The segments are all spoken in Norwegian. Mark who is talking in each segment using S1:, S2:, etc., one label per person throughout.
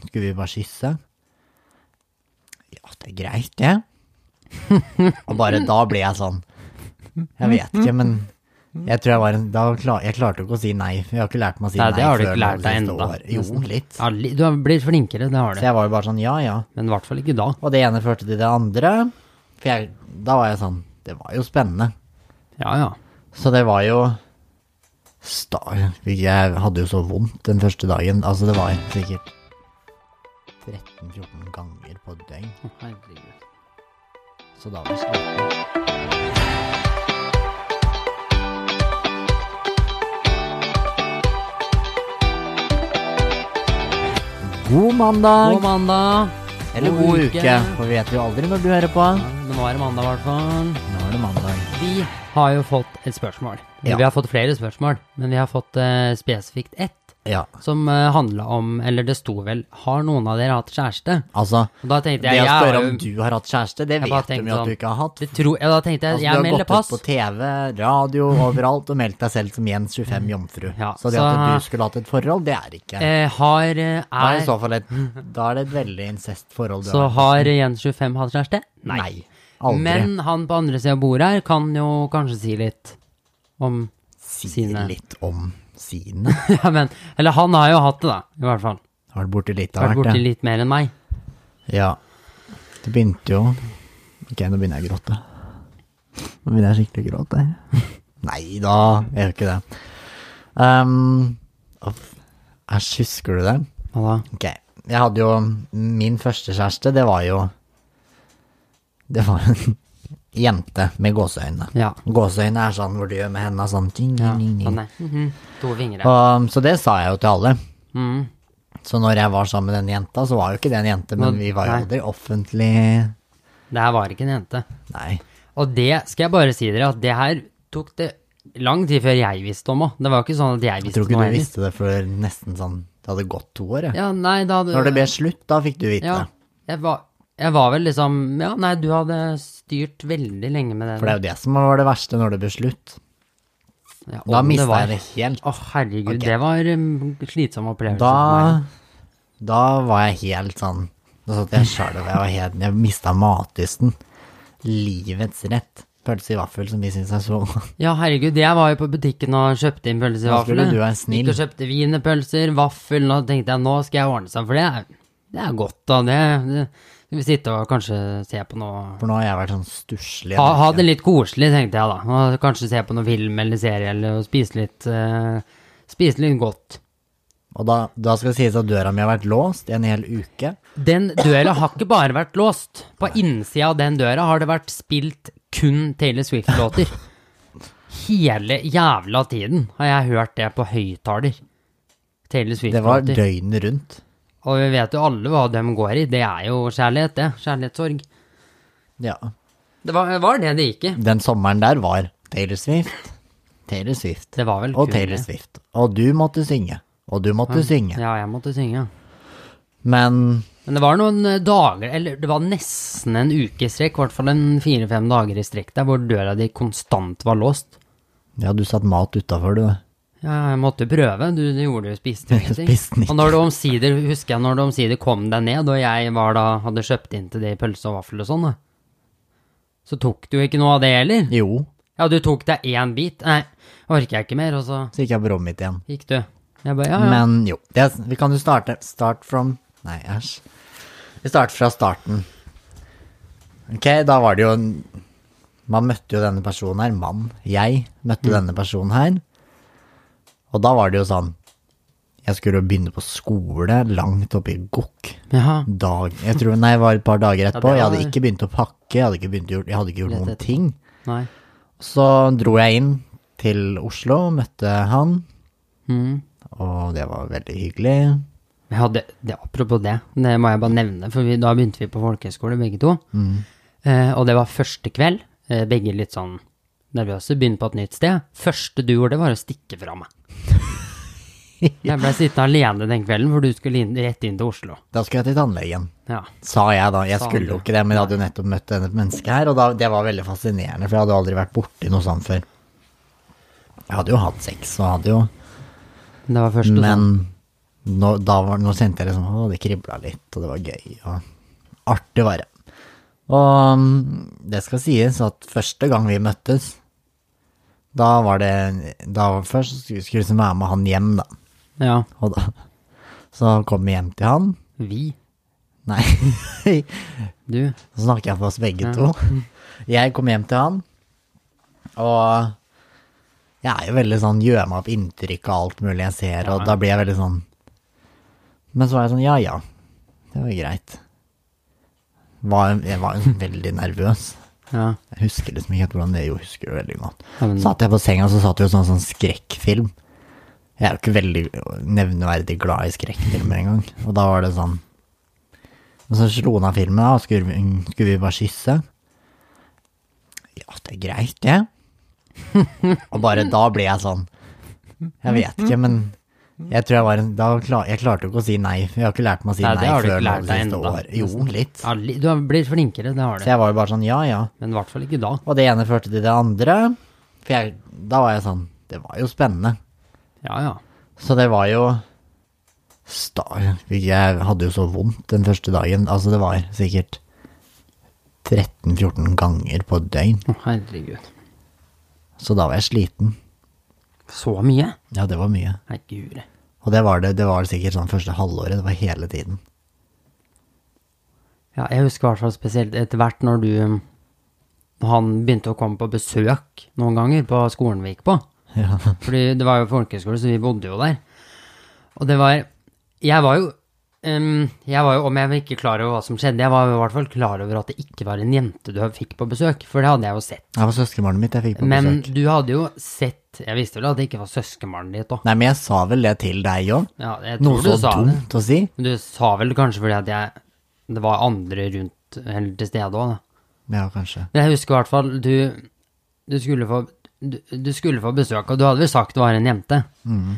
S1: Skulle vi bare kysse? Ja, det er greit, det. Og bare da ble jeg sånn Jeg vet ikke, men jeg tror jeg var en da klar, Jeg klarte ikke å si nei. for Jeg har ikke lært meg å si nei.
S2: Nei, det har du
S1: før
S2: ikke
S1: nå
S2: lært
S1: det
S2: deg
S1: siste
S2: ennå.
S1: året. Jo, litt.
S2: Ja, li- du har blitt flinkere, det har
S1: Så
S2: du.
S1: jeg var jo bare sånn ja, ja.
S2: Men i hvert fall ikke da.
S1: Og det ene førte til det andre. For jeg, da var jeg sånn Det var jo spennende.
S2: Ja, ja.
S1: Så det var jo sta, Jeg hadde jo så vondt den første dagen. Altså, det var sikkert 13-14 ganger på et døgn.
S2: Å, Herregud.
S1: Så da var det slutt. God mandag!
S2: God mandag.
S1: Eller god uke. for vi vet jo aldri når du hører på.
S2: Ja, Nå var det mandag, i hvert fall.
S1: Nå er det mandag.
S2: Vi har jo fått et spørsmål.
S1: Ja.
S2: Vi har fått flere spørsmål, men vi har fått eh, spesifikt ett
S1: Ja,
S2: som uh, handla om, eller det sto vel, har noen av dere hatt kjæreste?
S1: altså
S2: Og da tenkte
S1: Det
S2: jeg,
S1: å
S2: jeg
S1: spørre
S2: har
S1: om
S2: jo,
S1: du har hatt kjæreste, det
S2: Jeg bare
S1: vet de
S2: tenkte
S1: jo at du
S2: sånn,
S1: ikke har hatt.
S2: det tror, ja, da tenkte jeg,
S1: Altså,
S2: jeg
S1: du har
S2: melder
S1: gått
S2: pass.
S1: ut på TV, radio, overalt og meldt deg selv som Jens 25 Jomfru.
S2: Mm. Ja,
S1: så det
S2: så-
S1: at du skulle hatt et forhold, det er det ikke.
S2: Eh, har, eh,
S1: Da er, det i
S2: er,
S1: så fall et, da er det et veldig incestforhold du
S2: så
S1: har.
S2: har Jens 25 hatt kjæreste?
S1: Nei. Aldri.
S2: Men han på andre sida av bordet her kan jo kanskje si litt om
S1: si
S2: sine.
S1: litt om sine.
S2: Ja, men Eller han har jo hatt det, da, i hvert fall.
S1: Har du borti litt av
S2: Vært
S1: hvert,
S2: borti
S1: det?
S2: litt mer enn meg.
S1: Ja. Det begynte jo Ok, nå begynner jeg å gråte. Nå begynner jeg skikkelig å gråte. Nei da, jeg gjør ikke det. Um, uff. Æsj, husker du det?
S2: Hva da?
S1: Ok, jeg hadde jo Min første kjæreste, det var jo Det var en jente med gåseøyne.
S2: Ja.
S1: Gåseøyne er sånn hvor du gjør med hendene sånn ting,
S2: ja
S1: ting, ting.
S2: sånn er. Mhm. To fingre.
S1: Og, Um, så det sa jeg jo til alle.
S2: Mm.
S1: Så når jeg var sammen med den jenta, så var jo ikke det en jente, men
S2: Nå-
S1: vi var jo
S2: nei.
S1: aldri offentlig
S2: Det her var ikke en jente.
S1: Nei.
S2: Og det skal jeg bare si dere, at det her tok det lang tid før jeg visste om òg. Det var jo ikke sånn at jeg
S1: Jeg
S2: visste
S1: tror
S2: noe
S1: ikke du
S2: heller.
S1: visste det før nesten sånn Det hadde gått to år, jeg.
S2: Ja, nei, da hadde
S1: Når det ble slutt, da fikk du vite
S2: ja,
S1: det.
S2: jeg, var, jeg var vel liksom Ja, nei, du hadde styrt veldig lenge med det.
S1: For det er jo det som var det verste når det ble slutt.
S2: ja,
S1: Da
S2: om
S1: mista
S2: var-
S1: jeg det helt.
S2: Å, herregud,
S1: Ok.
S2: det var um, slitsom opplevelse for
S1: Da,
S2: meg.
S1: da var jeg helt sånn Da satt jeg skjelv, jeg var helt Jeg mista matlysten. Livets rett. Pølse i vaffel, som vi syns er så godt.
S2: Ja, herregud, jeg var jo på butikken og kjøpte inn pølser i
S1: Da skulle
S2: vafler.
S1: du være snill.
S2: Gikk og kjøpte wienerpølser, vaffel, og tenkte jeg nå skal jeg ordne seg, for det er, det er godt, da. Det, det skal vi sitte og kanskje se på noe
S1: For nå har jeg vært sånn stusslig.
S2: ha, ha det litt koselig, tenkte jeg da. Og kanskje se på noen film eller serie, eller og spise litt, eh, spise litt godt.
S1: Og da, da skal det sies at døra mi har vært låst i en hel uke.
S2: Den døra har ikke bare vært låst. På innsida av den døra har det vært spilt kun Taylor Swift-låter. Hele jævla tiden har jeg hørt det på høyttaler. Taylor
S1: Det var
S2: Swift-låter.
S1: døgnet rundt.
S2: Og vi vet jo alle hva de går i. Det er jo kjærlighet, det. Kjærlighetssorg.
S1: Ja.
S2: Det var, var det det gikk i.
S1: Den sommeren der var Taylor Swift, Taylor Swift
S2: Det var vel
S1: og
S2: kun
S1: Taylor
S2: det.
S1: Swift. Og du måtte synge. Og du måtte synge.
S2: Ja, jeg måtte synge.
S1: Men
S2: Men det var noen eh, dager, eller det var nesten en uke i strekk, i hvert fall en fire-fem dager i strekk der, hvor døra di konstant var låst.
S1: ja, du satt mat utafor, du.
S2: Ja, jeg måtte prøve. Du, du gjorde jo spiste jo ingenting.
S1: Spiste den ikke.
S2: Og når du omsider, husker jeg når du omsider kom deg ned, og jeg var da, hadde kjøpt inn til det i pølse og vaffel og sånn, da. Så tok du ikke noe av det heller.
S1: Jo.
S2: Ja, du tok deg én bit. Nei, orker jeg ikke mer, og så
S1: Så gikk jeg på rommet mitt igjen.
S2: gikk du. Jeg bare, ja, ja.
S1: Men jo, det, vi kan jo starte Start from Nei, æsj. Vi starter fra starten. Ok, da var det jo en- Man møtte jo denne personen her. Mann. Jeg møtte
S2: Mm.
S1: denne personen her. Og da var det jo sånn Jeg skulle jo begynne på skole langt oppe i Gokk.
S2: Jaha.
S1: Dag, jeg tror, nei, det var et par dager etterpå.
S2: det
S1: Jeg
S2: var-
S1: hadde ikke begynt å pakke. Jeg hadde ikke, begynt å gjort, jeg hadde ikke gjort
S2: Lett
S1: noen
S2: etterpå.
S1: ting.
S2: Nei.
S1: Så dro jeg inn til Oslo, møtte han,
S2: Mm.
S1: og det var veldig hyggelig.
S2: Jeg hadde, det, apropos det, det må jeg bare nevne, for vi, da begynte vi på folkehøyskole begge to.
S1: Mm.
S2: Eh, og det var første kveld, eh, begge litt sånn nervøse, begynne på et nytt sted. Første du gjorde, var å stikke fra meg. Jeg ble sittende alene den kvelden, for du skulle inn, rett inn til Oslo.
S1: Da skulle jeg til tannlegen,
S2: Ja.
S1: sa jeg da. Jeg
S2: Sa
S1: skulle
S2: du.
S1: jo ikke det, men jeg hadde jo nettopp møtt denne mennesket her, og da, det var veldig fascinerende, for jeg hadde aldri vært borti noe sånt før. Jeg hadde jo hatt sex, og hadde jo
S2: Det var første
S1: Men nå, da var, nå kjente jeg liksom Å, det kribla litt, og det var gøy, og artig var det. Og mm, det skal sies at første gang vi møttes, da var det Da var først skulle skulle liksom være med han hjem, da.
S2: Ja,
S1: Og da Så kom vi hjem til han.
S2: vi,
S1: Nei,
S2: du.
S1: så snakker jeg for oss begge to. Jeg kom hjem til han, og jeg er jo veldig sånn gjør meg opp inntrykk av alt mulig jeg ser, og da blir jeg veldig sånn Men så var jeg sånn ja ja, det var greit. Var, jeg var jo veldig nervøs.
S2: Ja.
S1: Jeg husker liksom ikke helt hvordan det er, jo husker det veldig godt.
S2: Ja, men-
S1: Satt jeg på senga, så satt det jo sånn, sånn skrekkfilm. Jeg er jo ikke veldig nevneverdig glad i skrekkfilmer engang. Og da var det sånn Og så slo han av filmen, da, og skulle, vi- skulle vi bare kysse? Ja, det er greit, det. og bare da ble jeg sånn Jeg vet ikke, men jeg tror jeg var en da klar, Jeg klarte jo ikke å si nei. for Jeg har ikke lært meg å si
S2: Nei,
S1: nei,
S2: det har du
S1: før
S2: ikke
S1: nå
S2: lært
S1: det
S2: deg
S1: siste
S2: enda.
S1: året. Jo, litt.
S2: Ja, li- Du har blitt flinkere, det har
S1: Så
S2: du.
S1: jeg var jo bare sånn ja, ja.
S2: Men i hvert fall ikke da.
S1: Og det ene førte til det andre. For jeg, da var jeg sånn Det var jo spennende.
S2: Ja, ja.
S1: Så det var jo sta, Jeg hadde jo så vondt den første dagen. Altså, det var sikkert 13-14 ganger på et døgn.
S2: Å, herregud.
S1: Så da var jeg sliten.
S2: Så mye?
S1: Ja, det var mye.
S2: Nei, guri.
S1: Og det var det, det var sikkert sånn første halvåret. Det var hele tiden.
S2: Ja, jeg husker i hvert fall spesielt etter hvert når du Når han begynte å komme på besøk noen ganger på skolen vi gikk på.
S1: Ja.
S2: Fordi det var jo folkehøyskole, så vi bodde jo der. Og det var Jeg var jo ehm, jeg var jo, Om jeg var ikke klar over hva som skjedde, jeg var jo i hvert fall klar over at det ikke var en jente du fikk på besøk, for det hadde jeg jo sett.
S1: Det var søskenbarnet mitt jeg fikk på
S2: Men
S1: besøk.
S2: du hadde jo sett Jeg visste vel at det ikke var søskenbarnet ditt òg.
S1: Nei, men jeg sa vel det til deg òg.
S2: Ja, jeg
S1: Noe
S2: tror du
S1: så
S2: sa det.
S1: dumt å si.
S2: Men Du sa vel kanskje fordi at jeg Det var andre rundt eller til stede òg, da.
S1: Ja, kanskje.
S2: Men jeg husker i hvert fall du, du, skulle få, du, du skulle få besøk, og du hadde vel sagt det var en jente.
S1: Mm.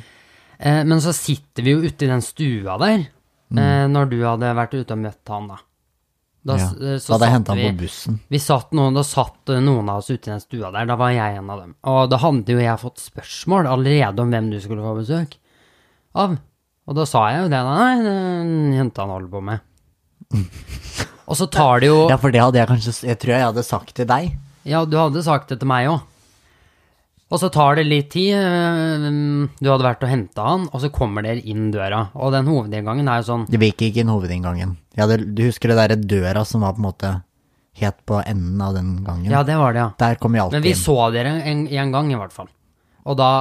S2: Eh, men så sitter vi jo ute i den stua der,
S1: Mm.
S2: eh, når du hadde vært ute og møtt han, da. Da,
S1: Ja.
S2: s- eh,
S1: Da
S2: så
S1: hadde jeg
S2: satt
S1: henta
S2: vi-
S1: han på bussen.
S2: vi satt noen, da satt eh, noen av oss ute i den stua der, da var jeg en av dem. Og da hadde jo jeg fått spørsmål allerede om hvem du skulle få besøk av. Og da sa jeg jo det, nei, det er en jente han holder på med. Og så tar det jo
S1: Ja, for det hadde jeg kanskje Jeg tror jeg hadde sagt til deg.
S2: Ja, du hadde sagt det til meg òg. Og så tar det litt tid. øh, Du hadde vært og henta han, og så kommer dere inn døra. Og den hovedinngangen er jo sånn
S1: Det gikk ikke inn hovedinngangen. Jeg hadde, du husker det derre døra som var på en måte helt på enden av den gangen?
S2: Ja, det var det, ja.
S1: Der kom jeg alltid
S2: Men vi
S1: inn.
S2: så dere en, en gang, i hvert fall. Og da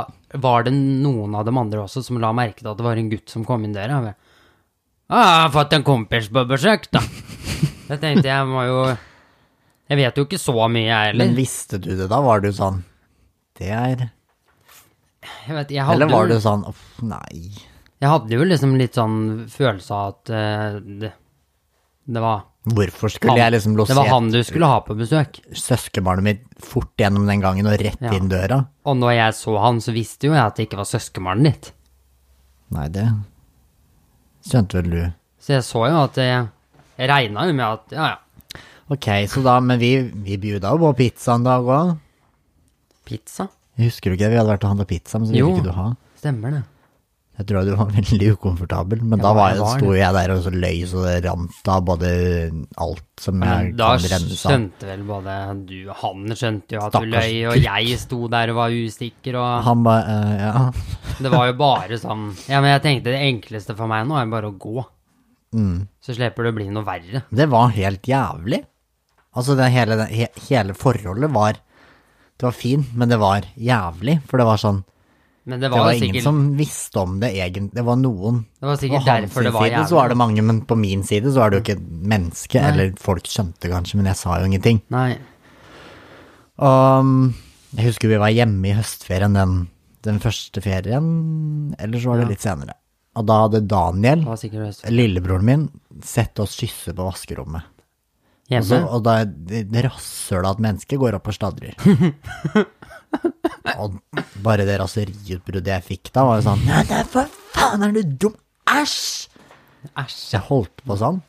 S2: var det noen av dem andre også som la merke til at det var en gutt som kom inn døra. og jeg, «Ah, Jeg har fått en kompis på besøk, da. Jeg tenkte jeg må jo Jeg vet jo ikke så mye, jeg
S1: Men
S2: heller.
S1: visste du det da? Var du sånn Det er
S2: Jeg vet, jeg hadde
S1: Eller var
S2: jo-
S1: du sånn Uff, nei.
S2: Jeg hadde jo liksom litt sånn følelse av at eh, det, det var
S1: Hvorfor skulle jeg liksom
S2: det var
S1: losert
S2: han du skulle ha på besøk.
S1: søskenbarnet mitt fort gjennom den gangen og rett
S2: Ja.
S1: inn døra?
S2: Og når jeg så han, så visste jo jeg at det ikke var søskenbarnet ditt.
S1: Nei, det skjønte vel du.
S2: Så jeg så jo at jeg, jeg regna jo med at ja, ja,
S1: Ok, så da Men vi, vi bjuda jo på pizza en dag òg.
S2: pizza.
S1: Husker du ikke det? Vi hadde vært og handla pizza, men så
S2: Jo.
S1: ville ikke du ha.
S2: Stemmer det.
S1: Jeg tror du var veldig ukomfortabel, men
S2: Ja,
S1: da var
S2: jeg
S1: jeg,
S2: var
S1: sto jeg der og så løy så det rant av både alt som jeg
S2: Men da
S1: kan renne av.
S2: skjønte vel både du og han skjønte jo at
S1: Stakkars
S2: du løy, og jeg sto der og var usikker, og
S1: Han ba, eh, ja.
S2: det var jo bare sånn Ja, men jeg tenkte det enkleste for meg nå er bare å gå.
S1: Mm.
S2: Så slipper det å bli noe verre.
S1: Det var helt jævlig. Altså, det hele, det he, hele forholdet var Det var fint, men det var jævlig. For det var sånn
S2: Men det
S1: Det
S2: var,
S1: var
S2: jo
S1: ingen
S2: sikkert
S1: som visste om det egentlig. Det var noen.
S2: Det var
S1: På
S2: sikkert
S1: hans
S2: derfor det var
S1: side
S2: jævlig.
S1: så var det mange, men på min side så var det jo ikke et menneske. Eller folk skjønte kanskje, men jeg sa jo ingenting.
S2: Nei.
S1: Um, jeg husker vi var hjemme i høstferien den, den første ferien, eller så var det litt senere. Og da hadde Daniel,
S2: Det var sikkert høst.
S1: lillebroren min, sett oss kysse på vaskerommet. Og, så,
S2: Hjemme?
S1: og da det det rasshølet av et menneske går opp og sladrer. og bare det raseriutbruddet jeg fikk da, var jo sånn Nei, nei, for faen, er du dum? Æsj!
S2: Æsj.
S1: Jeg holdt på sånn.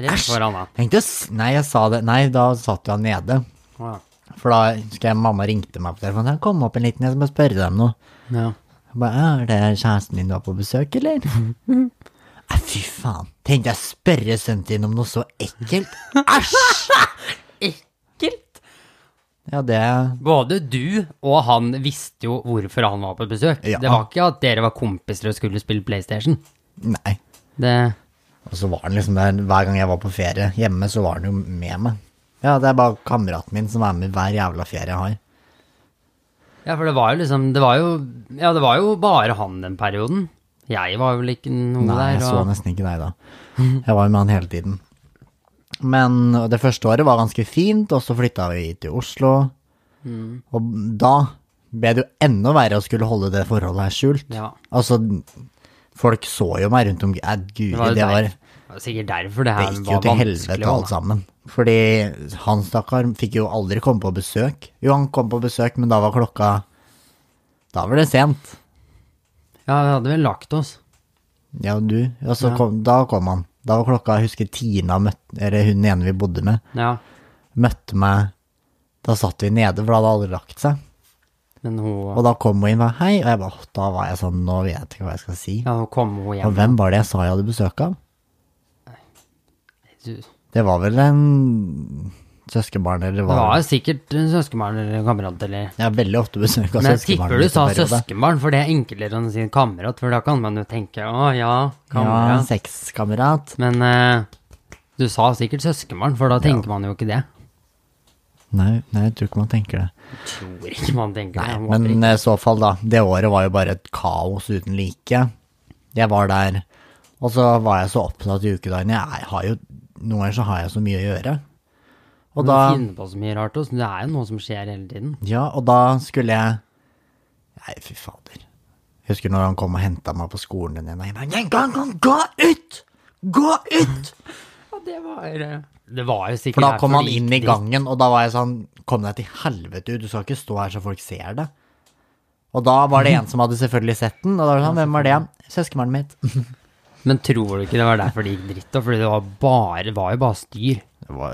S2: Rett foran deg.
S1: Tenkte, å s- nei, jeg sa det. Nei, da satt jo han nede.
S2: Ja.
S1: For da husker jeg mamma ringte meg på telefonen. «Jeg 'Kom opp en liten, jeg må spørre dem noe'.
S2: Ja.
S1: Jeg bare, «Ja, er det kjæresten din du har på besøk, eller? Nei, fy faen. Tenkte jeg spørre sønnen din om noe så ekkelt. Æsj!
S2: Ekkelt!
S1: Ja, det
S2: Både du og han visste jo hvorfor han var på besøk.
S1: Ja.
S2: Det var ikke at dere var kompiser og skulle spille PlayStation.
S1: Nei.
S2: Det,
S1: Og så var han liksom der hver gang jeg var på ferie hjemme, så var han jo med meg. Ja, det er bare kameraten min som er med hver jævla ferie jeg har.
S2: ja, for det var jo liksom det var jo, Ja, det var jo bare han den perioden. Jeg var vel ikke noe
S1: Nei,
S2: der.
S1: jeg så nesten ikke deg da. Jeg var jo med han hele tiden. Men det første året var ganske fint, og så flytta vi til Oslo.
S2: Mm.
S1: Og da ble det jo enda verre å skulle holde det forholdet her skjult.
S2: Ja.
S1: Altså, folk så jo meg rundt omkring. Eh, Guri,
S2: Det var, jo
S1: det var
S2: der, det var sikkert derfor
S1: Det
S2: det her
S1: gikk jo
S2: var
S1: til
S2: vanskelig.
S1: helvete altså.
S2: å holde.
S1: alt sammen. Fordi han stakkar fikk jo aldri komme på besøk. Jo, han kom på besøk, men da var klokka Da var det sent.
S2: Ja, vi hadde vel lagt oss.
S1: Ja, du. Og så kom, da kom han. Da var klokka, jeg husker Tina, møtte, eller hun ene vi bodde med,
S2: Ja,
S1: møtte meg Da satt vi nede, for da hadde alle lagt seg.
S2: men hun,
S1: Og da kom hun inn og bare hei, og jeg bare, «Åh, da var jeg sånn, nå vet jeg ikke hva jeg skal si.
S2: ja, hun kom hun
S1: Og
S2: hjem.
S1: hvem var det jeg sa jeg hadde besøk av?
S2: Du-
S1: Det var vel en søskenbarn, eller
S2: Det
S1: hva?
S2: var sikkert en søskenbarn eller en kamerat eller
S1: Jeg har veldig ofte besøk av
S2: Men jeg
S1: søskenbarn.
S2: tipper du sa søskenbarn, for det er enklere enn å si kamerat, for da kan man jo tenke å
S1: Ja,
S2: ja, kamerat.
S1: sexkamerat.
S2: Men eh, du sa sikkert søskenbarn, for da tenker man jo ikke det.
S1: Nei, nei, jeg tror ikke man tenker det.
S2: Jeg tror ikke man tenker det. man håper
S1: Men i så fall, da. Det året var jo bare et kaos uten like. Jeg var der, og så var jeg så opptatt i ukedagene. Jeg har jo Noen ganger så har jeg så mye å gjøre. Og
S2: ikke.
S1: da
S2: Man finner på så mye rart, også. det er jo noe som skjer hele tiden.
S1: Ja, og da skulle jeg Nei, fy fader. Jeg husker når han kom og henta meg på skolen den ene dagen. Jeg bare, «Gå, gå, gå ut! Gå ut!
S2: Ja, det var eh, Det var jo
S1: For
S2: sikkert
S1: da kom
S2: derfor
S1: han
S2: det
S1: inn
S2: gikk
S1: i
S2: dit.
S1: gangen, og da var jeg sånn Kom deg til helvete ut, du skal ikke stå her så folk ser det. Og da var det en som hadde selvfølgelig sett den, og da var det sånn, hvem var det? Søskenbarnet mitt.
S2: Men tror du ikke det var derfor det gikk dritt, da? Fordi det var, bare, det var jo bare styr.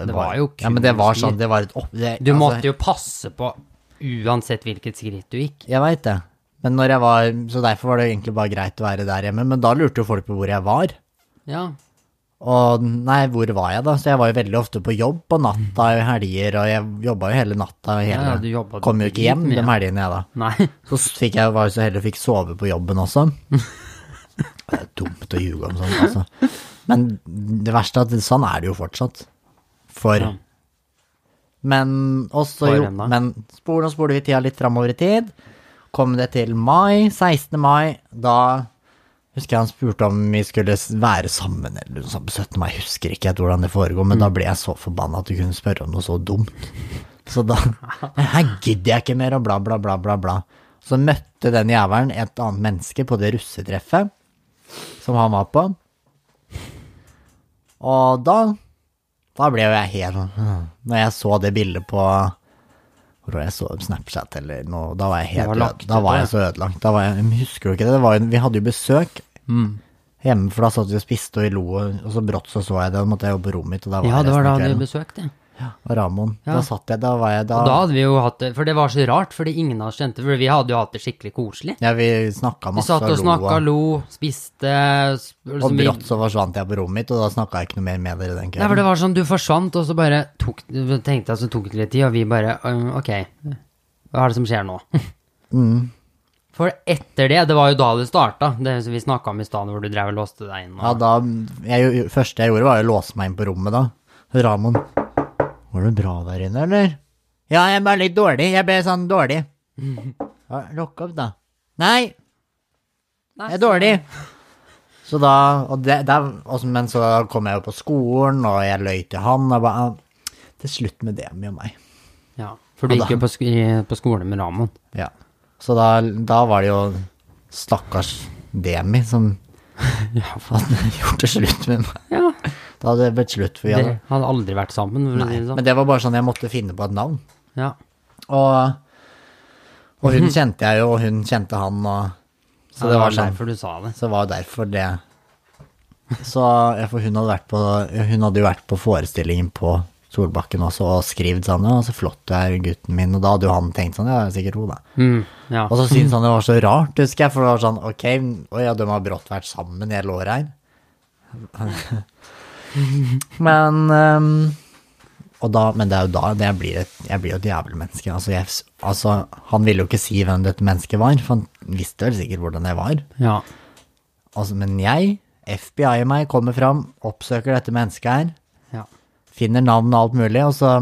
S2: Det var jo
S1: Ja, men det var
S2: kunstner.
S1: sånn, det var et opp... Det, altså,
S2: Du måtte jo passe på uansett hvilket skritt du gikk.
S1: Jeg veit det. Men når jeg var Så derfor var det egentlig bare greit å være der hjemme, men da lurte jo folk på hvor jeg var.
S2: Ja,
S1: Og nei, hvor var jeg da? Så jeg var jo veldig ofte på jobb på natta i helger, og jeg jobba jo hele natta. og Hele.
S2: Ja, ja, du jobbet
S1: Kom jo ikke hjem
S2: dritmye.
S1: de helgene, jeg da.
S2: nei.
S1: Så fikk jeg, var jeg så heldig og fikk sove på jobben også. Det er dumt å ljuge om sånt, altså. Men det verste er at sånn er det jo fortsatt. For
S2: Ja.
S1: Men også
S2: For
S1: jo,
S2: hvem da?
S1: men spol og spoler vi tida litt framover i tid. Kom det til mai, 16. mai, da husker jeg han spurte om vi skulle s- være sammen eller noe sånt på 17. mai, jeg husker ikke helt hvordan det foregår,
S2: Mm.
S1: men da ble jeg så forbanna at du kunne spørre om noe så dumt. Så da Her gidder jeg ikke mer, og bla, bla, bla, bla, bla. Så møtte den jævelen et annet menneske på det russetreffet som han var på. Og da Da ble jo jeg helt sånn «Hm». Når jeg så det bildet på Hvor var det jeg så Snapchat eller noe, da var jeg helt
S2: var lagt
S1: øde- Da var jeg så ødelagt. Da var jeg, men husker du ikke det? det var jo, vi hadde jo besøk
S2: Mm.
S1: hjemme, for da satt vi og spiste og vi lo, og så brått så så jeg det, og da måtte jeg jo på rommet mitt, og da var
S2: Ja,
S1: jeg
S2: det var da
S1: resten av
S2: du
S1: kvelden.
S2: besøkte.
S1: Og Ramon. Da satt jeg, da var jeg da,
S2: Og da hadde vi jo hatt det, for det var så rart, fordi ingen av oss kjente, for vi hadde jo hatt det skikkelig koselig.
S1: Ja, vi snakka
S2: Vi
S1: masse
S2: satt og
S1: og
S2: snakka,
S1: lo.
S2: lo, spiste sp-
S1: Og,
S2: liksom
S1: og
S2: vi-
S1: brått så forsvant jeg på rommet mitt, og da snakka jeg ikke noe mer med dere den
S2: Nei, for
S1: kvelden.
S2: det var sånn, du forsvant, og så bare tok, du tenkte jeg så tok det litt tid, og vi bare, «Øhm, ok, hva er det som skjer nå?
S1: Mm.
S2: For etter det, det var jo da det startet, det som vi snakket om i stedet, hvor du drev og låste deg inn.
S1: Ja,
S2: Og,
S1: da, jeg, første jeg gjorde var jo å låse meg inn på rommet da. Ramon, var det bra der inne, eller? Ja, jeg ble litt dårlig, jeg ble sånn dårlig. Ja, Lukk opp da. Nei,
S2: Nei,
S1: jeg er dårlig. Så da, og det, der, og, så- men så kom jeg jo på skolen, og jeg løy til han, og bare, «Ah, til slutt med det med meg.
S2: ja, for du
S1: Og da-
S2: gikk jo på, sk i- på skole med Ramon.
S1: Ja. Så da, da var det jo stakkars Demi som hadde gjort det slutt med meg.
S2: Ja,
S1: Da hadde det blitt slutt for vi hadde
S2: det hadde aldri vært sammen, for å si det sånn.
S1: Men det var bare sånn jeg måtte finne på et navn.
S2: Ja.
S1: Og, og hun kjente jeg jo, og hun kjente han, og
S2: Så
S1: Så det var sånn.
S2: derfor du sa det.
S1: Så var det derfor det Så ja, for hun hadde vært på Hun hadde jo vært på forestillingen på Solbakken også og skrevet sånn «Å, så flott du er, gutten min. Og da hadde jo han tenkt sånn, ja, det er sikkert hun, da.
S2: Mm, ja.
S1: Og så syntes han det var så rart, husker jeg, for det var sånn, ok, oi, ja, de har brått vært sammen i hele året her. men, ehm, og da, men det er jo da, det blir et, jeg blir jo et jævelmenneske. Altså, jeg, altså, han ville jo ikke si hvem dette mennesket var, for han visste vel sikkert hvordan jeg var.
S2: ja.
S1: Altså, men jeg, FBI i meg, kommer fram, oppsøker dette mennesket her,
S2: ja.
S1: finner navn og alt mulig, og så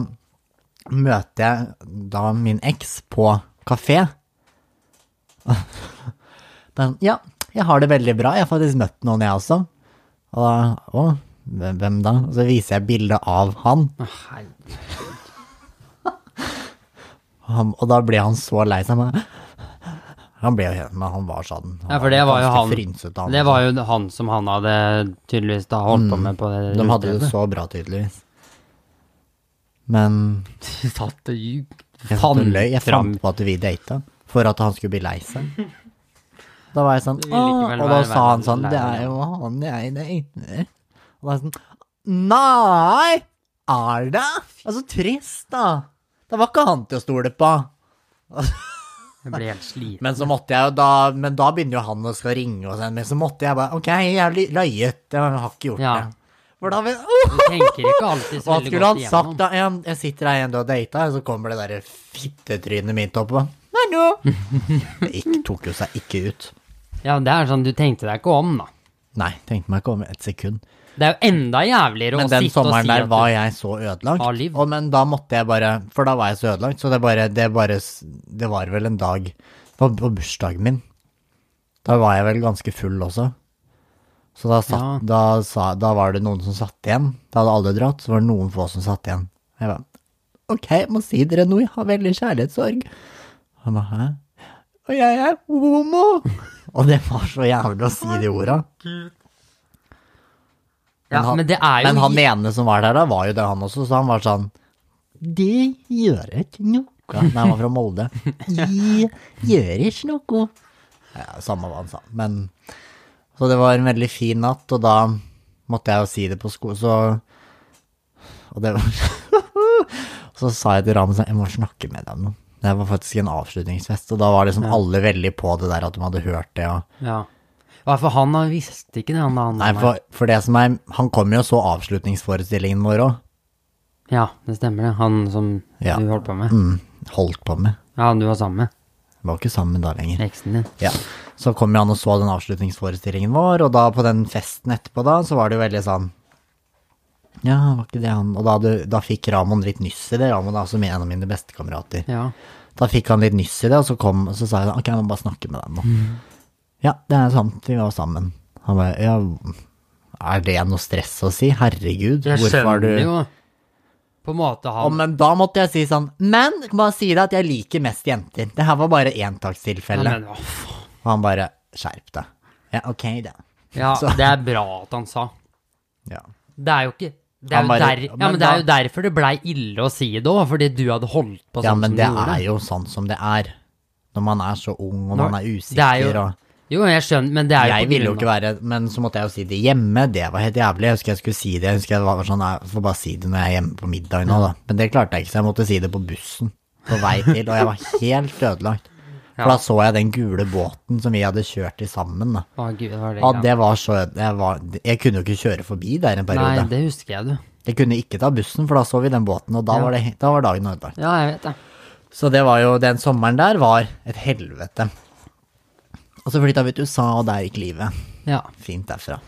S1: møter jeg da min eks på kafé. Men ja, jeg har det veldig bra. Jeg har faktisk møtt noen, jeg også. Og da, å, hvem hvem da? Og så viser jeg bildet av han,
S2: Å, herregud.
S1: og, han, og da ble han så lei seg. men- Han ble jo helt Men han var sånn. Han
S2: Ja, for det var jo
S1: ganske
S2: han
S1: Frynsete, han. Mm.
S2: Det var jo han som han hadde tydeligvis da holdt på med på det
S1: De hadde det
S2: utestedet.
S1: så bra, tydeligvis. Men
S2: Satt og ljug.
S1: Jeg, satt og
S2: Fant
S1: løy. jeg
S2: fram
S1: fant på at vi data, for at han skulle bli lei seg. Da var jeg sånn
S2: ville
S1: Åh,
S2: ikke vel
S1: Og da
S2: være
S1: sa han
S2: verden
S1: sånn
S2: lei
S1: Det
S2: deg,
S1: er jo han jeg dater. Og da er jeg sånn Nei! Er det? Det er så trist, da. Det var ikke han til å stole på.
S2: Jeg ble helt sliten.
S1: Men så måtte jeg jo da Men da begynner jo han å skal ringe og sånn, men så måtte jeg bare Ok, jeg løyet. Jeg har ikke gjort
S2: Ja.
S1: det. For da vil Åh!
S2: Du tenker ikke alltid så
S1: Hva
S2: veldig
S1: skulle
S2: godt
S1: han sagt
S2: igjennom.
S1: da? Jeg, jeg sitter her igjen, du har data, og så kommer det derre fittetrynet mitt oppå. Nei, nå! Det gikk, tok jo seg ikke ut.
S2: Ja, det er sånn, du tenkte deg ikke om, da.
S1: Nei, tenkte meg ikke om et sekund.
S2: Det er jo enda jævligere
S1: Men
S2: å
S1: den
S2: sitte og
S1: sommeren
S2: si
S1: der
S2: at
S1: var
S2: du,
S1: jeg så ødelagt.
S2: Har liv.
S1: Og, men da måtte jeg bare For da var jeg så ødelagt, så det bare Det, bare, s- det var vel en dag det var på bursdagen min. Da var jeg vel ganske full også. Så da, satt,
S2: Ja.
S1: da, sa, da var det noen som satt igjen. Da hadde alle dratt, så var det noen få som satt igjen. Jeg bare Ok, jeg må si dere noe, jeg har veldig kjærlighetssorg. Han ba, hæ? Og jeg er homo! Og det var så jævlig å si de orda.
S2: ja,
S1: han-
S2: men det er jo
S1: Men han ene som var der da, var jo det han også, så han var sånn Det gjør ikke noe. Nei, han var fra Molde. «Det gjør ikke noe. Ja, samme hva han sa, men Så det var en veldig fin natt, og da måtte jeg jo si det på sko... Så Og det var Så sa jeg til Ramen sånn Jeg må snakke med deg om noe. Det var faktisk en avslutningsfest, og da var liksom alle veldig på det der at de hadde hørt det. og...
S2: Ja. Ja, for han har- visste ikke det, han da. Han,
S1: Nei, for, for det som er Han kommer jo så avslutningsforestillingen vår òg.
S2: Ja, det stemmer det. Han som
S1: Ja.
S2: du holdt på med.
S1: Mm, holdt på med.
S2: Ja, han du var sammen med.
S1: Var ikke sammen da lenger.
S2: Eksen din.
S1: Ja. Så kom jo han og så den avslutningsforestillingen vår, og da på den festen etterpå da, så var det jo veldig sånn Ja, var ikke det han Og da, hadde- da fikk Ramon litt nyss i det. Ramon er altså en av mine bestekamerater.
S2: Ja.
S1: Da fikk han litt nyss i det, og så, kom, og så sa jeg sånn, ok, jeg må bare snakke med deg nå. Ja, det er sant, vi var sammen. Han bare, ja, er det noe stress å si? Herregud,
S2: Jeg
S1: hvorfor har du
S2: skjønner jo på en måte
S1: Og,
S2: han
S1: men da måtte jeg si sånn, men bare si det at jeg liker mest jenter. Det her var bare
S2: Ja,
S1: entaktstilfelle.
S2: men, hva faen?
S1: Og han bare, skjerp deg. Ja, ok da.
S2: ja,
S1: Så-
S2: det er bra at han sa.
S1: Ja.
S2: Det er jo ikke det er
S1: Han
S2: jo
S1: bare-
S2: der, ja,
S1: men
S2: men det er
S1: da-
S2: jo derfor det blei ille å si det òg, fordi du hadde holdt på sånn
S1: ja, men
S2: som du
S1: det
S2: gjorde.
S1: er jo sånn som det er. Når man er så ung, og
S2: Nå-
S1: man er
S2: det er jo-
S1: usikker, og...
S2: Jo, jeg skjønner, men det er jo
S1: Jeg
S2: på
S1: ville jo
S2: grunn
S1: ikke
S2: av-
S1: være Men så måtte jeg jo si det hjemme, det var helt jævlig. Jeg husker jeg skulle si det, jeg husker jeg var sånn Jeg får bare si det når jeg er hjemme på middag nå, da. Men det klarte jeg ikke, så jeg måtte si det på bussen på vei til, og jeg var helt ødelagt. For da så jeg den gule båten som vi hadde kjørt i sammen, da.
S2: Å, Gud, det var det,
S1: Ja,
S2: ja.
S1: det var så øde- jeg, var, jeg kunne jo ikke kjøre forbi der en
S2: Nei,
S1: periode.
S2: det husker jeg, du.
S1: Jeg kunne ikke ta bussen, for da så vi den båten, og da, var, det, da var dagen ødelagt.
S2: Ja, jeg vet det.
S1: Så det var jo Den sommeren der var et helvete. Og så flytta vi til USA, og der gikk livet.
S2: Ja.
S1: Fint derfra.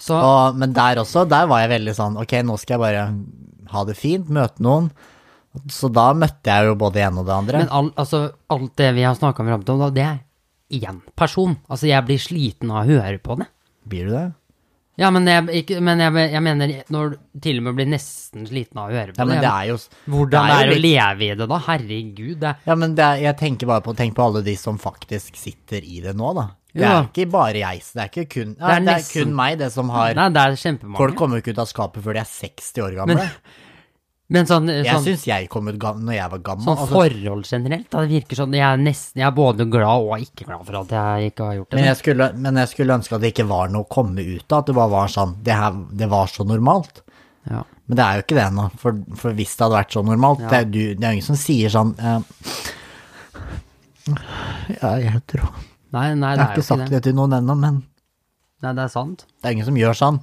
S2: Så
S1: Og, men der også, der var jeg veldig sånn, ok, nå skal jeg bare ha det fint, møte noen. Så da møtte jeg jo både det ene og det andre.
S2: Men all, altså, alt det vi har snakka om fram til nå, det er én person. Altså, jeg blir sliten av å høre på det.
S1: Blir du det?
S2: Ja, men jeg, ikke, men jeg, jeg mener når du til og med blir nesten sliten av å høre på
S1: Ja, men
S2: det.
S1: det er jo
S2: Hvordan
S1: jo
S2: er det å
S1: litt-
S2: leve i det, da? Herregud. Det er,
S1: Ja, men det er, jeg tenker bare på, tenk på alle de som faktisk sitter i det nå, da. Det
S2: Ja.
S1: er ikke bare jeg, så det er ikke kun, ja, det
S2: Det er
S1: er
S2: nesten-
S1: kun meg, det som har
S2: nei, det er kjempemange.
S1: Folk kommer jo ikke ut av skapet før de er 60 år gamle.
S2: men sånn,
S1: jeg
S2: sånn,
S1: syns jeg kom ut gam- når jeg var gammel.
S2: sånn
S1: altså.
S2: forhold generelt, da, det virker sånn Jeg er nesten Jeg er både glad og ikke glad for at jeg ikke har gjort det.
S1: Men jeg, skulle, men jeg skulle ønske at det ikke var noe å komme ut av, at det bare var sånn Det, her, det var så normalt.
S2: Ja.
S1: Men det er jo ikke det ennå, for, for hvis det hadde vært så normalt
S2: Ja.
S1: det, er, jo du, det er jo ingen som sier sånn eh, Ja, jeg heter òg
S2: Nei, nei,
S1: Jeg har
S2: det er
S1: ikke
S2: jo
S1: sagt
S2: ikke
S1: det.
S2: det.
S1: til noen ennå, men
S2: Nei, det er sant.
S1: det er ingen som gjør sånn.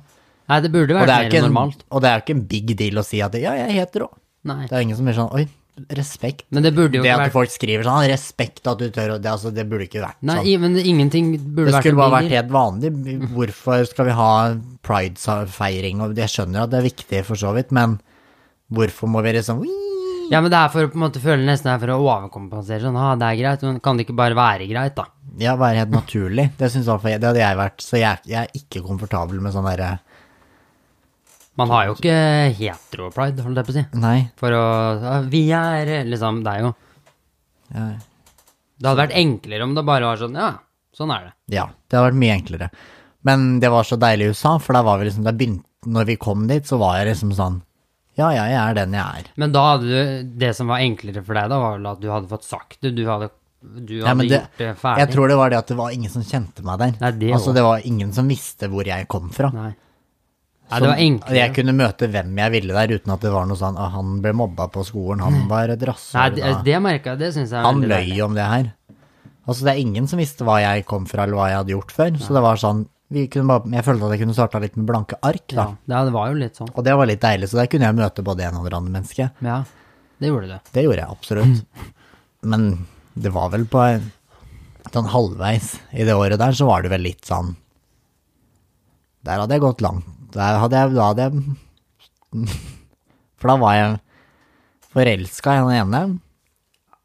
S2: Nei, det burde
S1: Og
S2: vært
S1: det er jo
S2: mer
S1: ikke en,
S2: normalt.
S1: og det er jo ikke en big deal å si at ja, jeg heter òg.
S2: Nei.
S1: Det er ingen som gjør sånn oi, respekt.
S2: Men det burde jo
S1: Det
S2: ikke
S1: at
S2: vært
S1: folk skriver sånn «Ah, respekt at du tør, å-» det, altså, det burde ikke vært
S2: Nei,
S1: sånn.
S2: i- men ingenting burde
S1: Det
S2: vært
S1: skulle
S2: en
S1: bare vært
S2: big deal. Mm.
S1: helt vanlig. Hvorfor skal vi ha pridefeiring? Og jeg skjønner at det er viktig for så vidt, men hvorfor må vi liksom
S2: Ja, men det er for å på en måte føle nesten det er for å overkompensere. Sånn, ah, det er greit, men kan det ikke bare være greit, da?
S1: Ja, være helt naturlig. Det, synes i hvert fall jeg, det hadde jeg vært. Så jeg, jeg er ikke komfortabel med sånn derre
S2: Man har jo ikke hetero-pride, holdt jeg på å si.
S1: Nei.
S2: For å ah, Vi er liksom Det er jo
S1: Ja, ja.
S2: Det hadde vært enklere om det bare var sånn, ja, sånn er det.
S1: Ja, det hadde vært mye enklere. Men det var så deilig i USA, for da var vi liksom, da begynte, når vi kom dit, så var jeg liksom sånn Ja, ja, jeg er den jeg er.
S2: Men da hadde du Det som var enklere for deg, da, var vel at du hadde fått sagt det. Du hadde, du
S1: Ja,
S2: hadde
S1: men det,
S2: gjort det ferdig.
S1: jeg tror det var det at det var ingen som kjente meg der.
S2: Nei, det
S1: altså,
S2: også.
S1: det var ingen som visste hvor jeg kom fra.
S2: Nei. Nei, det var
S1: Som-
S2: enklere.
S1: Jeg kunne møte hvem jeg ville der, uten at det var noe sånn «Ah, 'Han ble mobba på skolen, han var et
S2: Nei,
S1: rasshøl'.
S2: det,
S1: da».
S2: det merka jeg. Det syns jeg er
S1: Han
S2: veldig
S1: løy
S2: deilig.
S1: jo om det her. Altså, det er ingen som visste hva jeg kom fra, eller hva jeg hadde gjort før. Så det var sånn vi kunne bare, Jeg følte at jeg kunne starta litt med blanke ark, da.
S2: Ja, det det var jo litt sånn.
S1: Og det var litt deilig, så der kunne jeg møte både en og det andre mennesket.
S2: Ja, det gjorde du.
S1: Det gjorde jeg absolutt. Men det var vel på en- sånn halvveis i det året der, så var det vel litt sånn Der hadde jeg gått langt. Der hadde jeg, da hadde jeg For da var jeg forelska i han ene.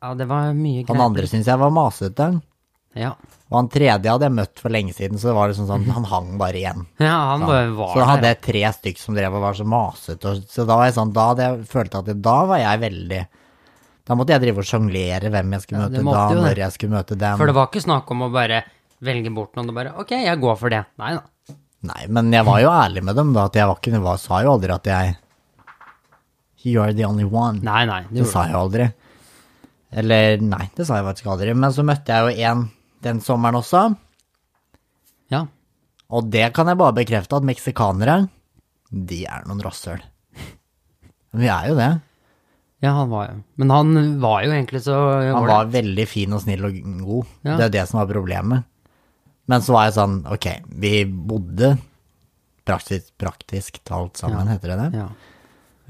S2: Ja, det var mye
S1: Han andre syntes jeg var masete.
S2: Ja.
S1: Og han tredje hadde jeg møtt for lenge siden, så det var liksom sånn, han hang bare igjen.
S2: ja, han bare var
S1: Så da hadde
S2: der.
S1: jeg tre stykk som drev og var så masete, og- så da var jeg sånn, da hadde jeg følt at det, da var jeg veldig Da måtte jeg drive og sjonglere hvem jeg skulle
S2: Ja, det
S1: møte da,
S2: måtte jo
S1: når
S2: det.
S1: jeg skulle møte dem.
S2: For det var ikke snakk om å bare velge bort noen og bare Ok, jeg går for det. Nei da.
S1: Nei, men jeg var jo ærlig med dem da, at jeg var ikke var, sa jo aldri at jeg You are the only one.
S2: Nei, nei. Det
S1: det
S2: gjorde
S1: sa jeg jo aldri. Eller nei, det sa jeg faktisk aldri. Men så møtte jeg jo en den sommeren også,
S2: du. Ja.
S1: og det kan jeg bare bekrefte at meksikanere, de er noen rasshøl. Vi er jo det.
S2: ja, han var jo Men han var jo egentlig så
S1: Han var veldig fin og snill og god.
S2: Ja.
S1: Det er det som var problemet. Men så var jeg sånn, ok, vi bodde praktisk, praktisk talt sammen, heter det det.
S2: ja.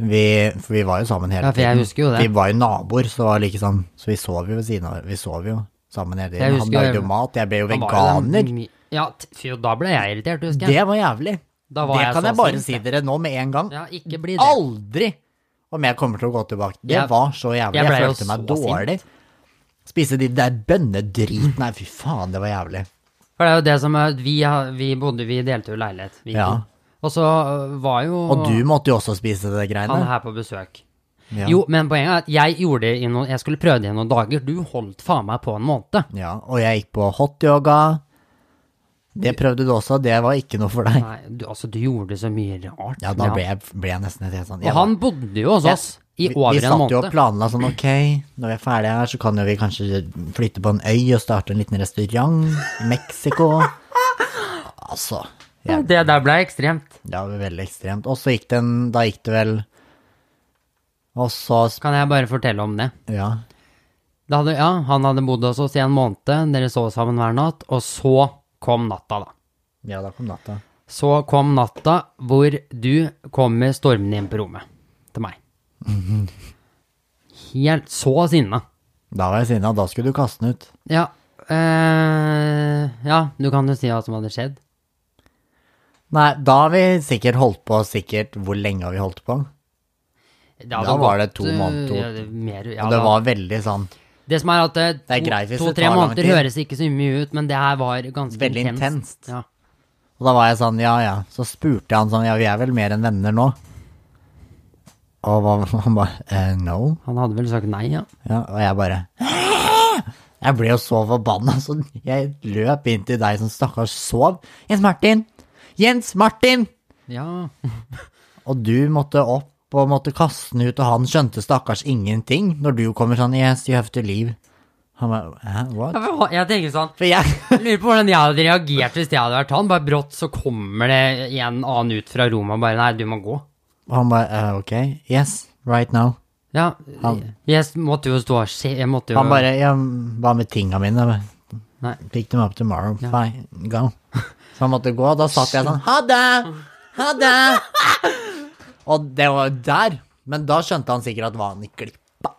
S1: Vi, for vi var jo sammen hele
S2: Ja, for jeg husker jo det.
S1: Vi var jo naboer, så, det var like sånn, så vi sov jo ved siden av Vi sov jo sammen hele
S2: Jeg
S1: tiden. Han
S2: husker-
S1: lagde jo mat, jeg ble jo
S2: Han var jo den
S1: veganer.
S2: mi- Ja, t- fy, da ble jeg irritert, husker jeg.
S1: Det var jævlig.
S2: Da var
S1: det
S2: jeg
S1: kan
S2: så
S1: jeg bare
S2: sint,
S1: si
S2: jeg.
S1: dere nå med en gang.
S2: Ja, ikke bli det.
S1: Aldri om jeg kommer til å gå tilbake. Det
S2: Jeg-
S1: var så jævlig.
S2: jeg
S1: Jeg,
S2: ble jo
S1: følte meg
S2: så sint.
S1: dårlig. Spise de der bønnedrit. Nei, fy faen, det var jævlig.
S2: For det er jo det som er vi, har- vi bodde Vi delte jo leilighet. Vi,
S1: Ja.
S2: Og så øh, var jo
S1: Og du måtte jo også spise det
S2: han
S1: greiene.
S2: her på besøk.
S1: Ja.
S2: Jo, men poenget er at jeg gjorde det i noen Jeg skulle prøve det i noen dager. Du holdt faen meg på en måned.
S1: Ja, og jeg gikk på hot yoga. Det prøvde du også, det var ikke noe for deg.
S2: Nei, du, altså, du gjorde så mye rart.
S1: Ja, da ble jeg, ble jeg nesten helt sånn.
S2: Og
S1: jeg
S2: han bodde jo hos oss i
S1: Vi-
S2: over
S1: Vi
S2: en
S1: satt jo og
S2: måned.
S1: planla sånn, ok, når vi er ferdige her, så kan jo vi kanskje flytte på en øy og starte en liten restaurant i Mexico. Altså. Jeg
S2: Det der ble ekstremt.
S1: Det var veldig ekstremt. Og så gikk den, da gikk det vel Og så sp-
S2: Kan jeg bare fortelle om det?
S1: Ja.
S2: Da hadde, ja, han hadde bodd hos oss i en måned, dere sov sammen hver natt, og så kom natta, da.
S1: Ja, da kom natta.
S2: Så kom natta hvor du kommer stormende inn på rommet til meg. Helt så sinna.
S1: Da var jeg sinna, da skulle du kaste den ut.
S2: Ja, eh, ja, du kan jo si hva som hadde skjedd.
S1: Nei, da har vi sikkert holdt på sikkert Hvor lenge har vi holdt på?
S2: hadde
S1: Da var det
S2: gått,
S1: to
S2: eh,
S1: måneder, to-
S2: ja, det, mer, ja,
S1: Og
S2: det,
S1: det var veldig sånn
S2: det som er at eh,
S1: er greit hvis
S2: to,
S1: det
S2: to-tre
S1: tar lang
S2: måneder
S1: tid.
S2: høres ikke så mye ut, men det her var ganske
S1: Veldig intenst.
S2: Ja.
S1: Og da var jeg sånn, ja ja. Så spurte han sånn, ja vi er vel mer enn venner nå? Og hva- han bare, eh, no?
S2: Han hadde vel sagt nei, ja.
S1: Ja, og jeg bare Jeg ble jo så forbanna, så jeg løp inn til deg som stakkars sov. Jens Martin! Jens Martin!
S2: Ja,
S1: Og du måtte opp og måtte kaste den ut, og han skjønte stakkars ingenting når du kommer sånn Yes, you have to leave. Han bare Hæ, what?
S2: jeg tenker sånn
S1: For jeg
S2: Jeg Lurer på hvordan jeg hadde reagert hvis jeg hadde vært han. Bare brått så kommer det en annen ut fra rommet og bare Nei, du må gå.
S1: Og han bare eh, OK, yes, right now.
S2: Ja,
S1: Han-
S2: jeg måtte jo stå og se, jeg måtte jo
S1: Han bare ja, Hva med tinga mine? Jeg
S2: Nei.
S1: bare, Pick them up tomorrow. Fine, go. Så han måtte gå, og da satt jeg sånn Ha det! Ha det! Og det var jo der. Men da skjønte han sikkert at var han i klippa.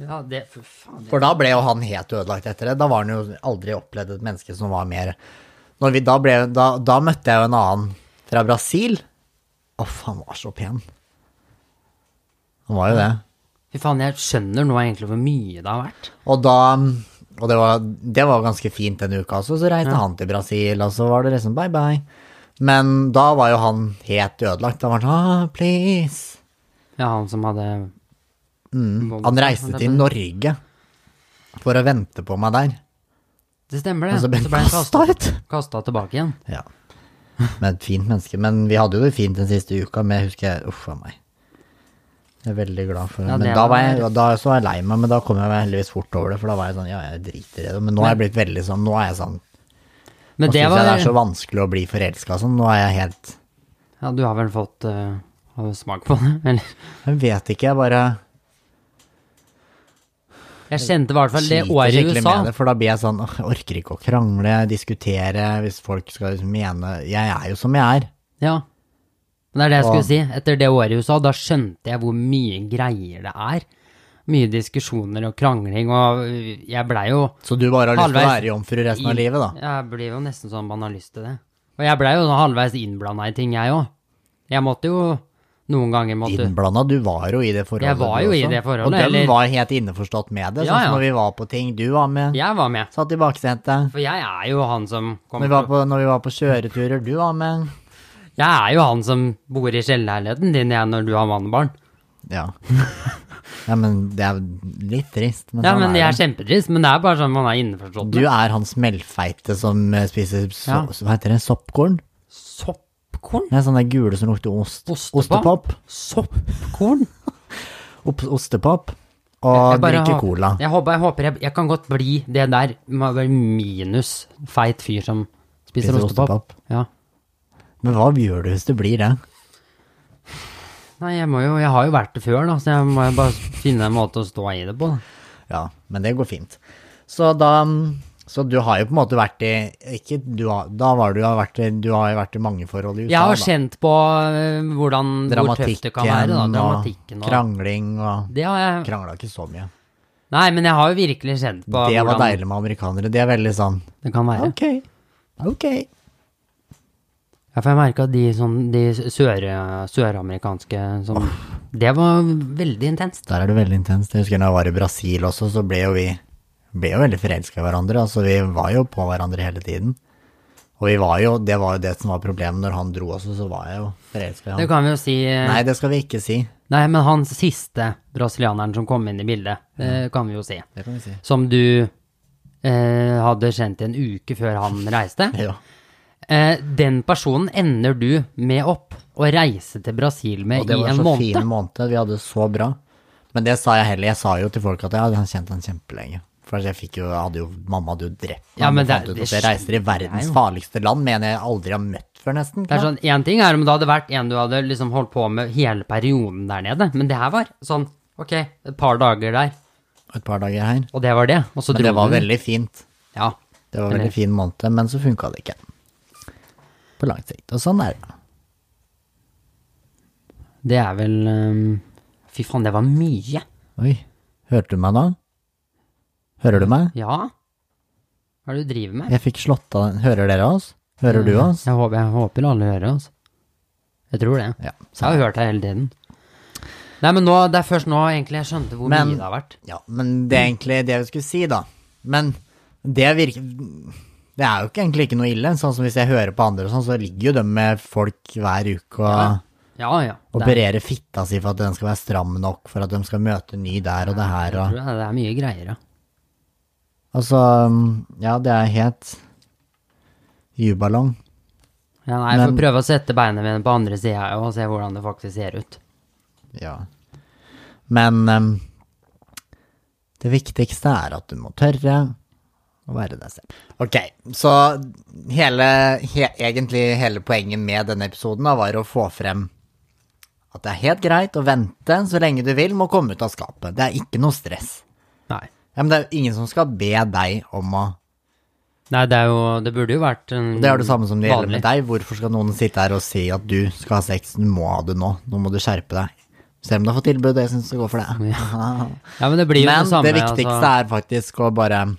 S2: Ja, det, for faen. Det.
S1: For da ble jo han helt ødelagt etter det. Da var han jo aldri opplevd et menneske som var mer Når vi da ble Da, da møtte jeg jo en annen fra Brasil. Uff, han var så pen. Han var jo det.
S2: Fy faen, jeg skjønner nå egentlig hvor mye det har vært.
S1: Og da Og det var, det var ganske fint denne uka også, så reiste han til Brasil, og så var det liksom bye bye. Men da var jo han helt ødelagt. Da var han sånn ah, please.
S2: Ja, han som hadde
S1: Mm. Han reiste til Norge for å vente på meg der.
S2: Det stemmer, det.
S1: Og så ble han
S2: kastet-
S1: kasta ut.
S2: kastet tilbake igjen.
S1: Ja. Men et fint menneske. Men vi hadde jo det fint den siste uka, men jeg husker Uff a meg. Jeg er veldig glad for det.
S2: Ja, det
S1: men da, var jeg,
S2: var-
S1: da så var jeg lei meg, men da kom jeg meg heldigvis fort over det. For da var jeg sånn, ja, jeg driter i det. Men nå er jeg blitt veldig sånn, nå er jeg sånn
S2: Men
S1: Nå
S2: det
S1: syns
S2: var
S1: jeg det er så vanskelig å bli forelska sånn. Nå er jeg helt
S2: Ja, du har vel fått eh, har du smak på det, eller?
S1: Jeg vet ikke, jeg bare
S2: Jeg kjente i hvert fall det
S1: sliter
S2: året i
S1: skikkelig
S2: USA.
S1: med det. For da blir jeg sånn åh, Jeg orker ikke å krangle, diskutere, hvis folk skal liksom mene Jeg er jo som jeg er.
S2: Ja. Men det er det jeg
S1: Og-
S2: skulle si. Etter det året i USA, da skjønte jeg hvor mye greier det er. Mye diskusjoner og krangling, og øh, jeg blei jo
S1: Så du bare har lyst til å
S2: Halvveis.
S1: være jomfru resten av livet, da?
S2: Jeg blir jo nesten sånn man har lyst til det. Og jeg blei jo sånn halvveis innblanda i ting, jeg òg. Jeg måtte jo noen ganger måtte
S1: Innblanda, du var jo i det forholdet.
S2: Jeg var
S1: du
S2: jo i
S1: også.
S2: det forholdet,
S1: Og dem
S2: eller-
S1: var helt innforstått med det.
S2: Ja,
S1: Sånn
S2: ja.
S1: som når vi var på ting du var med,
S2: Jeg var med.
S1: satt i baksetet.
S2: For jeg er jo han som
S1: Når
S2: kommer
S1: vi, var på, når vi var på kjøreturer, du var med.
S2: Jeg er jo han som bor i kjellerleiligheten din jeg, når du har mannebarn.
S1: Ja. ja, men det er litt trist. Men
S2: Ja,
S1: sånn
S2: men
S1: er
S2: det er
S1: det.
S2: kjempetrist, men det er bare sånn man er innforstått
S1: Du
S2: med.
S1: er han smellfeite som eh, spiser so
S2: Ja.
S1: Hva heter det? Soppkorn?
S2: Soppkorn?
S1: Det er sånne gule som lukter ost.
S2: Ostepop? Soppkorn?
S1: Op ostepop.
S2: Jeg
S1: Og
S2: bare
S1: drikker
S2: har-
S1: cola.
S2: Jeg håper, jeg, håper jeg, jeg kan godt bli det der må være minus feit fyr som spiser,
S1: Spiser
S2: ostepop.
S1: ostepop.
S2: Ja.
S1: Men hva gjør du hvis du blir det?
S2: Nei, jeg må jo Jeg har jo vært det før, da, så jeg må jo bare finne en måte å stå i det på. Da.
S1: Ja, men det går fint. Så da Så du har jo på en måte vært i Ikke du har Da var du har vært i Du har jo vært i mange forhold i USA,
S2: Jeg har
S1: da.
S2: kjent på øh, hvordan hvor tøft det kan være. Da. Dramatikken og
S1: krangling og
S2: Det har jeg
S1: Krangla ikke så mye.
S2: Nei, men jeg har jo virkelig kjent på
S1: Det var
S2: hvordan
S1: deilig med amerikanere. De er veldig sånn
S2: det kan være.
S1: OK. OK.
S2: Ja, for jeg merka de, sånn, de sør, søramerikanske som Det var veldig intenst.
S1: Der er det veldig intenst. Jeg husker når jeg var i Brasil også, så ble jo vi ble jo veldig forelska i hverandre. Altså, vi var jo på hverandre hele tiden. Og vi var jo Det var jo det som var problemet. Når han dro også, så var jeg jo forelska i
S2: Det
S1: han.
S2: kan vi jo si. øh, Nei.
S1: Nei, det skal vi ikke si.
S2: men han siste brasilianeren som kom inn i bildet, det kan vi jo si.
S1: Det kan vi si.
S2: Som du eh, hadde kjent en uke før han reiste.
S1: Ja.
S2: Eh, den personen ender du med opp å reise til Brasil
S1: Og
S2: med
S1: det
S2: i
S1: var
S2: en
S1: så
S2: måned.
S1: fin måned, vi hadde det så bra. Men det sa jeg heller, jeg sa jo til folk at jeg hadde kjent han kjempelenge. For jeg fikk jo, jeg hadde jo, mamma hadde jo drept meg.
S2: Ja, men
S1: Jeg fant
S2: det-
S1: ut
S2: det
S1: at jeg reiser i verdens farligste land, men jeg aldri har møtt før nesten.
S2: Det er sånn, En ting er om det hadde vært en du hadde liksom holdt på med hele perioden der nede, men det her var sånn ok, et par dager der,
S1: Et par dager her.
S2: og det var det. Og så
S1: Men
S2: sånn- dro
S1: det var
S2: du.
S1: veldig fint.
S2: Ja.
S1: Det var en
S2: Eller-
S1: veldig fin måned, men så funka det ikke. På lang sikt. Og sånn er det.
S2: Det er vel ehm, Fy faen, det var mye.
S1: Oi. Hørte du meg nå? Hører du meg?
S2: Ja. Hva er det du driver med?
S1: Jeg fikk slått av den. Hører dere oss? Hører du oss?
S2: Jeg håper, jeg håper alle hører oss. Jeg tror det.
S1: Ja.
S2: Så jeg har hørt deg hele tiden. Nei, men nå, det er først nå egentlig jeg skjønte hvor
S1: Men-
S2: mye det har vært.
S1: Ja, men det er egentlig det vi skulle si, da. Men det virker Det er jo ikke, egentlig ikke noe ille. Sånn som hvis jeg hører på andre og sånn, så ligger jo de med folk hver uke og
S2: Ja, ja. Det er,
S1: opererer fitta si for at den skal være stram nok, for at de skal møte ny der og det her
S2: jeg
S1: og
S2: tror det, er- det er mye greier, ja.
S1: Altså, ja, det er helt jubalong.
S2: ja nei, jeg får
S1: Men-
S2: prøve å sette beina mine på andre sida og se hvordan det faktisk ser ut.
S1: Ja. Men em, det viktigste er at du må tørre å være deg selv. Ok, så hele, he, egentlig hele poenget med denne episoden da, var å få frem At det er helt greit å vente så lenge du vil med å komme ut av skapet. Det er ikke noe stress.
S2: Nei.
S1: Ja, men det er jo ingen som skal be deg om å
S2: Nei, det, er jo, det burde jo vært en
S1: Det er det samme som det gjelder med
S2: vanlig.
S1: deg. Hvorfor skal noen sitte her og si at du skal ha sex, du må ha det nå, nå må du skjerpe deg. Se om du har fått tilbud, jeg syns du går for det.
S2: Ja, men det blir jo
S1: Men
S2: det samme.
S1: det viktigste
S2: altså.
S1: er faktisk å bare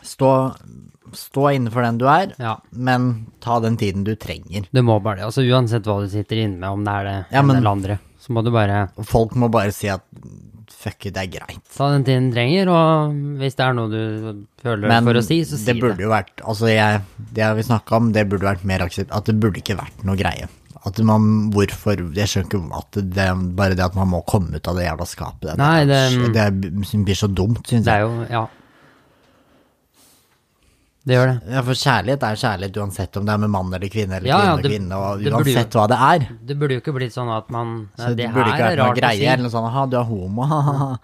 S1: stå, stå innenfor den du er,
S2: Ja.
S1: men ta den tiden du trenger.
S2: Du må bare det. Altså, uansett hva du sitter inne med, om det er det
S1: Ja,
S2: ene
S1: men-
S2: eller andre, så må du bare
S1: Og Folk må bare si at fuck it, det er greit.
S2: ta den tiden du trenger, og hvis det er noe du føler
S1: Men
S2: for å si, så si
S1: det burde jo vært Altså, jeg, det vi snakka om, det burde vært mer aksept... At det burde ikke vært noe greie. At man Hvorfor Jeg skjønner ikke at det Bare det at man må komme ut av det jævla skapet. Det,
S2: Nei,
S1: er-
S2: det-
S1: det, er- blir så dumt, syns
S2: Det er
S1: jeg.
S2: jo Ja. Det gjør det.
S1: Ja, for kjærlighet er kjærlighet uansett om det er med mann eller kvinne eller
S2: Ja, ja,
S1: kvinne og
S2: det-
S1: kvinne,
S2: det
S1: og
S2: burde jo-
S1: uansett hva det er.
S2: Det burde jo ikke blitt sånn at man
S1: Så
S2: Nei,
S1: det,
S2: Det
S1: burde
S2: her
S1: ikke
S2: er
S1: vært noe
S2: rart å
S1: greie,
S2: si.
S1: eller noe sånt. Aha, du er homo, ha-ha-ha.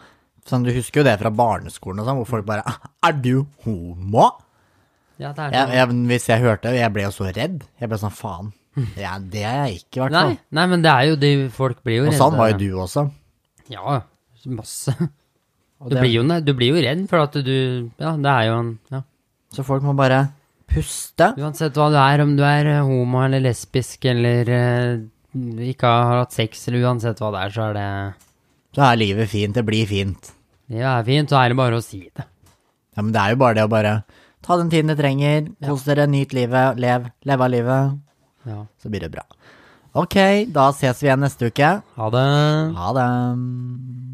S1: Sånn, du husker jo det fra barneskolen og sånn, hvor folk bare «Ah, Er du homo?
S2: Ja, det er
S1: Jeg,
S2: sånn.
S1: jeg, hvis jeg hørte det, jeg ble jo så redd. Jeg ble sånn faen. Ja, det er jeg ikke, i hvert fall.
S2: Hmm. Nei, nei, men det er jo de folk blir jo
S1: Og
S2: redde.
S1: sånn var jo du også.
S2: Ja, masse. Du
S1: det-
S2: blir, jo, du blir jo redd for at du Ja, det er jo en ja.
S1: Så folk må bare puste.
S2: Uansett hva du er, om du er eh, homo eller lesbisk eller eh, ikke har hatt sex, eller uansett hva det er, så er det
S1: Så er livet fint. Det blir fint.
S2: Det er fint, så er det bare å si det.
S1: Ja, men det er jo bare det å bare ta den tiden du trenger, kos dere, nyt livet, lev, lev av livet.
S2: Ja.
S1: Så blir det bra. Ok, da ses vi igjen neste uke.
S2: Ha det.
S1: Ha det.